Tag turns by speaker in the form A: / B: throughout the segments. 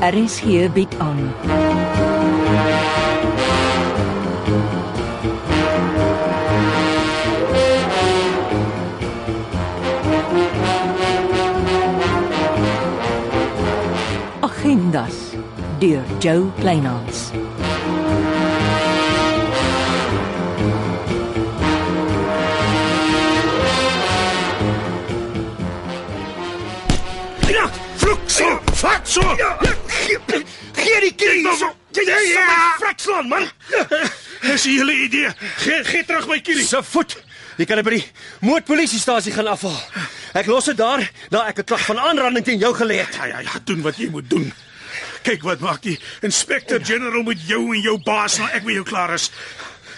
A: RSG bied aan. Agendas deur Jo Kleinhans.
B: Ja, vloek so, vat so. Ja, gee, gee die kies.
C: Nee,
B: Jy jy ja. my frakslaan man.
C: Ja.
B: Dis julle idee. Gee gee terug my kies.
C: Se voet. Jy kan dit by die moordpolisiestasie gaan afhaal. Ek los dit daar, daar ek 'n klag van aanranding teen jou gelê het.
B: Ja ja ja, doen wat jy moet doen. Kyk wat maak die
C: Ja.
B: inspector general met jou en jou baas nou ek met jou klaar is.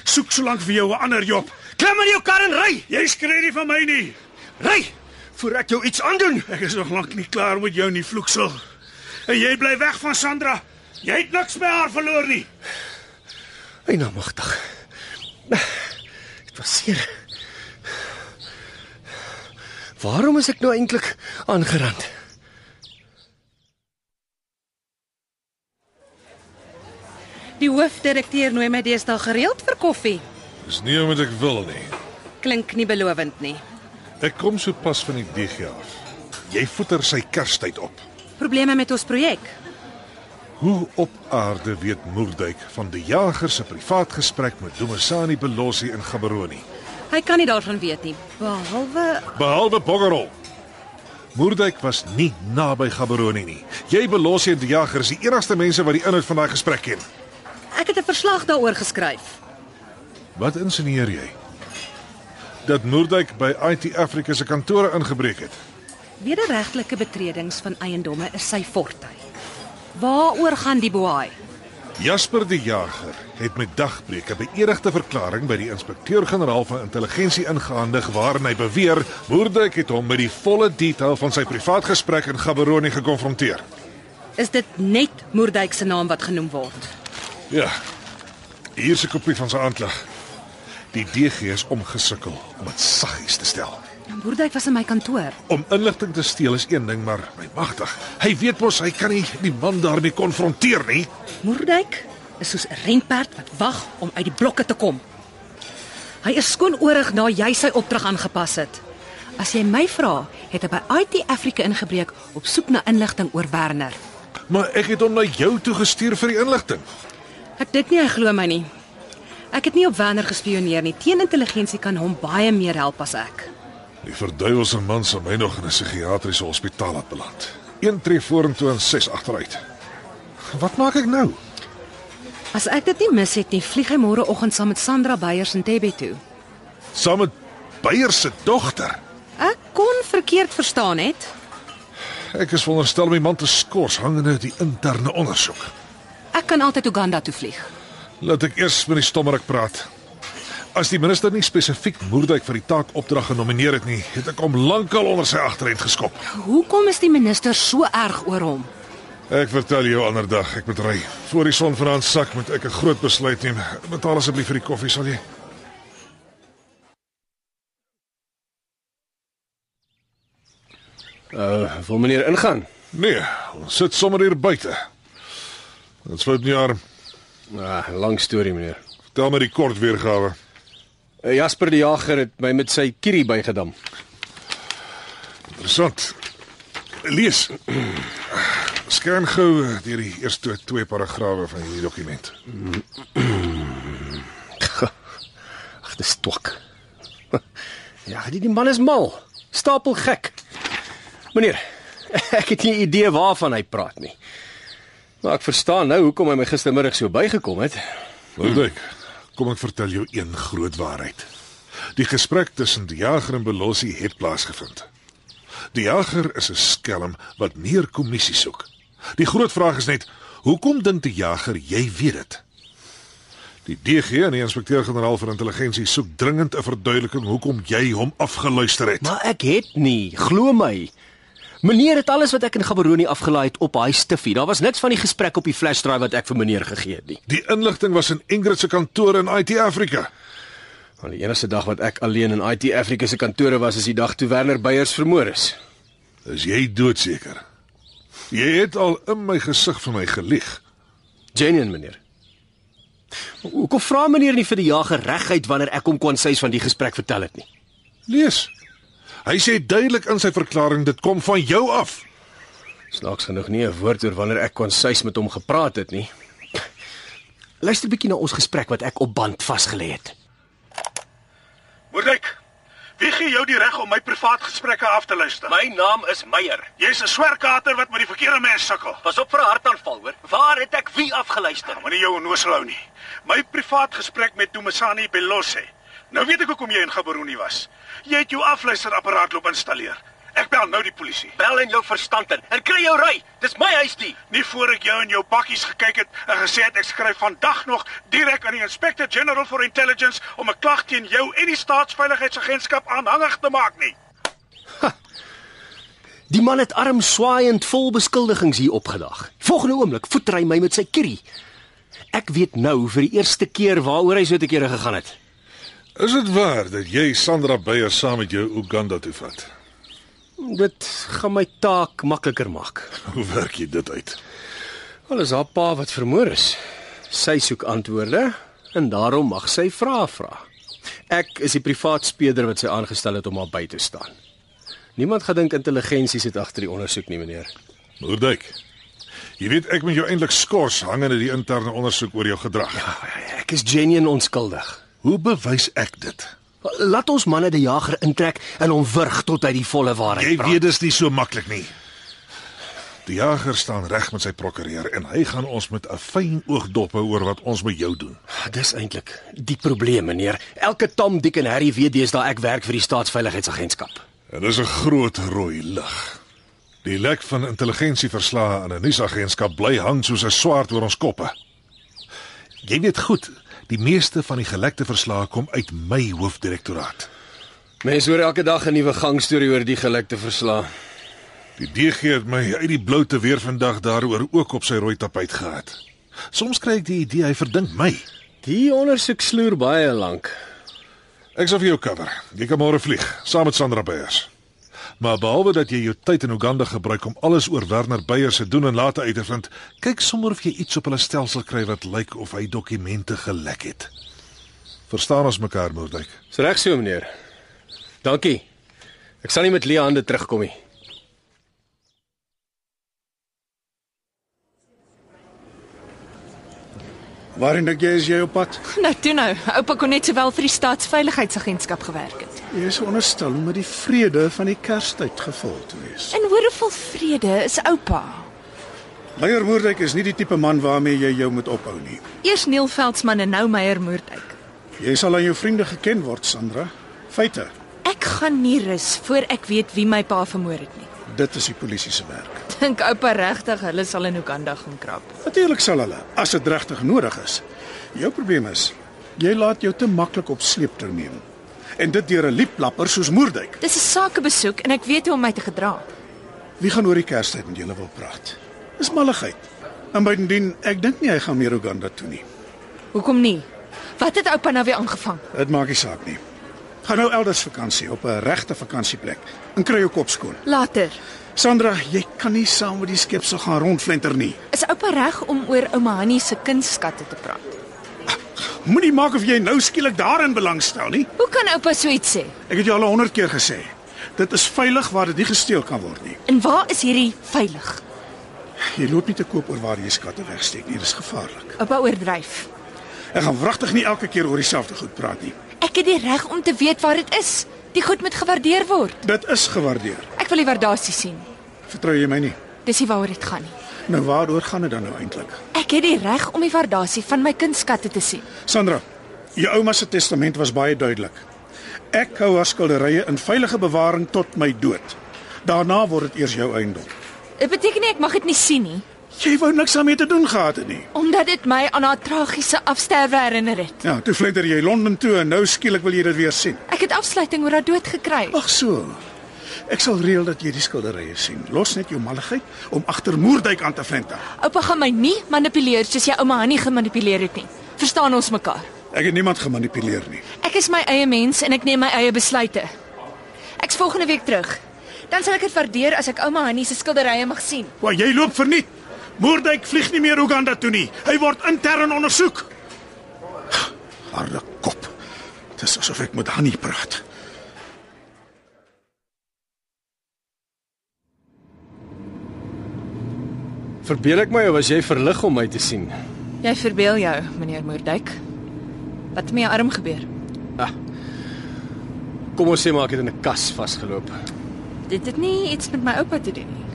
B: Soek so lank vir jou 'n ander job.
C: Klim in jou kar en ry.
B: Jy skree nie van my nie.
C: Ry voor ek jou iets aandoen.
B: Ek is nog lank nie klaar met jou nie, vloeksel. En jy bly weg van Sandra. Jy het niks by haar verloor nie.
C: Hy nou magtig. Dit was seer. Waarom is ek nou eintlik aangerand?
D: Die hoofdirekteur nooi my deesdae gereeld vir koffie.
E: Dis nie omdat ek wil nie.
D: Klink nie belovend nie.
E: Ek kom sopas van die DG af. Jy voeter sy kerstyd op.
D: Probleme met ons projek.
E: Hoe op aarde weet Moerduyk van die jager se privaat gesprek met Domisani Belossi in Gaborone,
D: Hy kan nie daarvan weet nie, behalwe
E: behalwe Boggerol. Moerduyk was nie naby Gaborone nie. Jy Belossi en die jager is die enigste mense wat die inhoud van daai gesprek ken.
D: ek het 'n verslag daaroor geskryf.
E: Wat insinieer jy? Dat Moerduyk by IT Africa se kantore ingebreek het.
D: Wederregtelike betredings van eiendomme is sy forte. Waaroor gaan die boei?
E: Jasper die Jager het met dagbreek 'n beëdigde verklaring by die inspekteur-generaal van intelligensie ingehandig waarin hy beweer Moerdijk het hom met die volle detail van sy privaat gesprek in Gaborone gekonfronteer.
D: Is dit net Moerdijk se naam wat genoem word?
E: Ja. Hier is 'n kopie van sy aanklag. Die DG is omgesukkel om dit saggies te stel.
D: Moerdijk was in my kantoor.
E: Om inligting te steel is een ding, maar my magtig, hy weet mos hy kan nie die man daarmee konfronteer nie.
D: Moerdijk is soos 'n renperd wat wag om uit die blokke te kom. Hy is skoonorig na jy sy opdrag aangepas het. As jy my vra, het hy by IT Africa ingebreek op soek na inligting oor Werner.
E: Maar ek het hom na jou toe gestuur vir die inligting.
D: Ek dink nie hy glo my nie. Ek het nie op Werner gespioneer nie. Teen intelligensie kan hom baie meer help as ek.
E: Die verduiwelse man sal my nog in 'n psigiatriese hospitaal laat beland. Een tree vorentoe en ses agteruit. Wat maak ek nou?
D: As ek dit nie mis het nie, vlieg hy môreoggend saam met Sandra Beyers in Tebe toe.
E: Saam met Beyer se dogter.
D: Ek kon verkeerd verstaan het.
E: Ek is veronderstel om die man te skors hangende uit die interne ondersoek.
D: Ek kan altyd Uganda toe vlieg.
E: Laat ek eers met die stommerik praat. As die minister nie spesifiek Moerdijk vir die taak opdrag genomineer het nie, het ek hom lankal onder sy agterend geskop.
D: Hoekom is die minister so erg oor hom?
E: Ek vertel jou ander dag, ek moet ry. Voor die son vanaand sak moet ek 'n groot besluit neem. Betaal asseblief vir die koffie, sal jy?
C: Uh, wil meneer ingaan?
E: Nee, ons sit sommer hier buite. Dit sluit nie aan.
C: Ah, lang storie meneer.
E: Vertel my die kort weergawe.
C: Uh, Jasper die Jager het my met sy kierie bygedam.
E: Interessant. Lees. Scan gou eh, deur die eerste twee paragrawe van hierdie dokument.
C: Ag, dis twak. Ja, die, die man is mal. Stapel gek. Meneer, ek het nie idee waarvan hy praat nie. Maar ek verstaan nou hoekom hy my gistermiddag so bygekom het.
E: Moerdijk, kom ek vertel jou een groot waarheid. Die gesprek tussen die jager en Belossi het plaasgevind. Die jager is 'n skelm wat meer kommissie soek. Die groot vraag is net, hoekom dink die jager jy weet dit? Die DG en die inspekteur-generaal van intelligensie soek dringend 'n verduideliking hoekom jy hom afgeluister het.
C: Maar ek het nie, glo my. Meneer het alles wat ek in Gaborone afgelaai het op hy stiffie. Daar was niks van die gesprek op die flash drive wat ek vir meneer gegee het nie.
E: Die inligting was in Ingrid se kantoor in IT Afrika.
C: Al die enigste dag wat ek alleen in IT Afrika se kantore was, is die dag toe Werner Beyers vermoor is.
E: Is jy doodseker? Jy het al in my gesig vir my gelieg.
C: Genuen meneer. Hoekom vra meneer nie vir die jager reguit wanneer ek hom konsies van die gesprek vertel het nie?
E: Lees. Hy sê duidelik in sy verklaring dit kom van jou af.
C: Snaaks genoeg nie 'n woord oor wanneer ek konsies met hom gepraat het nie. Luister bietjie na ons gesprek wat ek op band vasgelê het.
F: Moordwyk. Wie gee jou die reg om my privaat gesprekke af te luister?
G: My naam is Meyer.
F: Jy's 'n swerkater wat met die verkeerde mens sukkel.
G: Pas op vir 'n hartaanval, hoor. Waar het ek wie afgeluister?
F: Moenie jou onnoosel hou nie. My privaat gesprek met Dumisani Belosse. Nou weet ek hoekom jy in Gaborone was. Jy het jou afluisterapparaat loop installeer. Ek bel nou die polisie.
G: Bel in jou verstand in en kry jou ry. Dis my huis die.
F: Nie voor ek jou in jou bakkies gekyk het en gesê het ek skryf vandag nog direk aan die Inspector General for Intelligence om 'n klag teen jou en die Staatsveiligheidsagentskap aanhangig te maak nie.
C: Die man het arm swaaiend vol beskuldigings hier opgedag. Volgende oomblik voeter hy my met sy kierie. Ek weet nou vir die eerste keer waaroor hy so te kere gegaan het.
E: Is dit waar dat jy Sandra Beyer saam met jou Uganda toe vat?
C: Dit gaan my taak makliker maak.
E: Hoe werk jy dit uit?
C: Wel is haar pa wat vermoor is. Sy soek antwoorde en daarom mag sy vrae vra. Ek is die privaat speeder wat sy aangestel het om haar by te staan. Niemand gedink intelligensie sit agter die ondersoek nie, meneer.
E: Moerdijk. Jy weet ek moet jou eintlik skors hangende die interne ondersoek oor jou gedrag.
C: Ah, Ek is genuen onskuldig.
E: Ja. Hoe bewys ek dit?
C: Laat ons manne die jager intrek en hom wurg tot hy die volle waarheid
E: Jy weet dis nie so maklik nie. Die jager staan reg met sy prokureur en hy gaan ons met 'n fyn oogdop hou oor wat ons met jou doen.
C: Weet... Ah, Dis eintlik die probleem, meneer. Elke Tom, Dick en Harry weet deesdae ek werk vir die staatsveiligheidsagentskap.
E: En dis 'n groot rooi lig. Die lek van intelligensieverslae aan 'n nuusagentskap bly hang soos 'n swaard oor ons koppe. Jy weet goed, die meeste van die gelekte verslae kom uit my hoofdirektoraat.
C: Mense hoor elke dag 'n nuwe gangstorie oor die gelekte verslaa.
E: Die DG het my uit die blou te weer vandag daaroor ook op sy rooi tapijt gehad. Soms kry ek die idee hy verdink my.
C: Die ondersoek sloer baie lank.
E: Ek sal vir jou cover. Jy kan môre vlieg saam met Sandra Beyers. Maar behalwe dat jy jou tyd in Uganda gebruik om alles oor Werner Beyers se doen en late uit te vind, kyk sommer of jy iets op hulle stelsel kry wat lyk of hy dokumente gelek het. Verstaan ons mekaar, Moordwyk?
C: Dis reg so, meneer. Dankie. Ek sal nie met leë hande terugkom nie.
H: Waarheen dink jy is jy op pad?
D: Nou toe nou, oupa kon net sowel vir die staatsveiligheidsagentskap gewerk het.
H: Jy is onderstel om met die vrede van die Kerstyd gevul te wees.
D: En hoor hoeveel vrede is oupa.
H: Meyer Moerdijk is nie die tipe man waarmee jy jou moet ophou nie.
D: Eers Neil Veldsmann en nou Meyer Moerdijk.
H: Jy sal aan jou vriende geken word, Sandra. Feite,
D: Ek gaan nie rus voor ek weet wie my pa vermoor het nie.
H: dit is die polisie se werk.
D: Dink oupa regtig hulle sal in Uganda gaan krap.
H: Natuurlik sal hulle, as dit regtig nodig is. Jou probleem is, jy laat jou te maklik op sleeptou neem. En dit deur 'n lieplapper soos Moerdijk.
D: Dis 'n sakebesoek en ek weet hoe om my te gedra.
H: Wie gaan oor die Kerstyd met julle wil praat? Dis malligheid. En bydien, ek dink nie hy gaan meer Uganda toe nie.
D: Hoekom nie? Wat het oupa nou weer aangevang?
H: Dit maak nie saak nie. Gaan nou elders vakansie op 'n regte vakansieplek en kry jou kop skoon.
D: Later.
H: Sandra, jy kan nie saam met die skepsel gaan rondflenter nie.
D: Is oupa reg om oor ouma Hanni se kunstskatte te praat?
H: Moenie maak of jy nou skielik daarin belangstel nie.
D: Hoe kan oupa so iets sê?
H: Ek het jou al 100 keer gesê. Dit is veilig waar dit nie gesteel kan word nie.
D: En waar is hierdie veilig?
H: Jy loop nie te koop oor waar jy skatte wegsteek nie. Dit is gevaarlik.
D: Oupa oordryf.
H: Ek gaan wragtig nie elke keer oor dieselfde goed praat nie.
D: Ek het die reg om te weet waar dit is. Die goed moet gewaardeer word.
H: Dit is gewaardeer.
D: Ek wil die waardasie sien.
H: Vertrou jy my nie?
D: Dis nie waaroor dit gaan nie.
H: Nou waaroor gaan dit dan nou eintlik?
D: Ek het die reg om die waardasie van my kunstskatte te sien.
H: Sandra, jou ouma se testament was baie duidelik. Ek hou haar skilderye in veilige bewaring tot my dood. Daarna word dit eers jou eiendom.
D: Dit beteken nie ek mag dit nie sien nie,
H: Jy wou niks daarmee te doen gehad het nie.
D: omdat dit my aan haar tragiese afsterwe herinner het.
H: Ja, toe vlinder jy Londen toe en nou skielik wil jy dit weer sien.
D: Ek het afsluiting oor haar dood gekry.
H: Ag so. Ek sal reël dat jy die skilderye sien. Los net jou malligheid om agter Moerdijk aan te venter.
D: Oupa gaan my nie manipuleer soos jy ouma Hanni gemanipuleer het nie. Verstaan ons mekaar?
H: Ek het niemand gemanipuleer nie.
D: Ek is my eie mens en ek neem my eie besluite. Ek's volgende week terug. Dan sal ek dit waardeer as ek ouma Annie se skilderye mag sien.
H: Waar jy loop verniet. Moerdijk vlieg nie meer Uganda toe nie. Hy word intern ondersoek. Harde kop. Dis asof ek met Hanni praat.
C: Verbeel ek my of was jy verlig om my te sien?
D: Jy verbeel jou, meneer Moerdijk. Wat het met jou arm gebeur?
C: Ah. Kom ons sê maar ek het in 'n kas vasgeloop.
D: Dit het nie iets met my oupa te doen nie.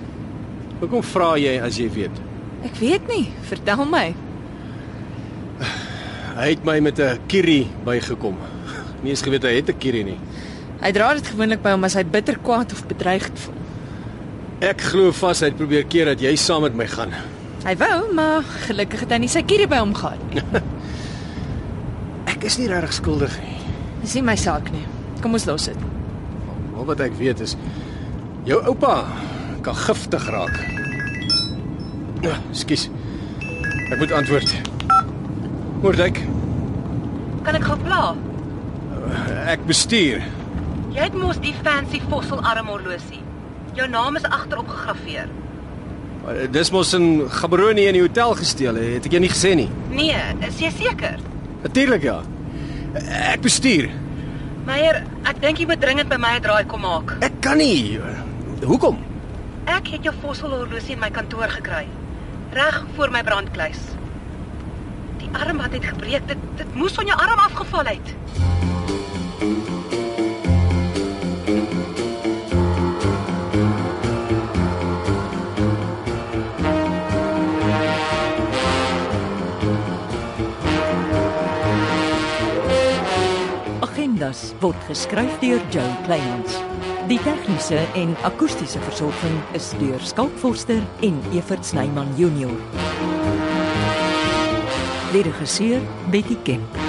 C: Hoekom vra jy as jy weet?
D: Ek weet nie. Vertel my.
C: Hy het my met 'n kierie bygekom. Nie eens geweet hy het 'n kierie nie.
D: Hy dra dit gewoonlik by hom as hy bitter kwaad of bedreig voel.
C: Ek glo vas hy het probeer keer dat jy saam met my gaan.
D: Hy wou, maar gelukkig het hy nie sy kierie by hom gehad nie.
C: Ek is nie regtig skuldig nie.
D: Dis nie my saak nie. Kom ons los dit.
C: Al wat ek weet is jou oupa kan giftig raak. Ah, Ekskuus. Ek moet antwoord. Moordek,
I: Kan ek gou pla?
C: Eh, ek bestuur.
I: Jy het mos die fancy fosselarm horlosie. Jou naam is agterop gegraveer.
C: Eh, Dis mos in Gaborone in die hotel gesteel, hè? het ek jou nie gesê nie.
I: Nee, is jy seker?
C: Natuurlik ja. Ek bestuur.
I: Meyer, ek dink jy moet dringend by my 'n draai kom maak.
C: Ek kan nie. Hoekom?
I: Ek het jou fosselhorlosie in my kantoor gekry. Reg voor my brandkluis. Die arm wat het gebreek, dit dit moes van jou arm afgeval het.
A: Agendas word geskryf deur Joe Kleinhans. Die tegniese en akoestiese versorging is deur Skalk Forster en Evert Snyman Junior. Lede regisseur Betty Kemp.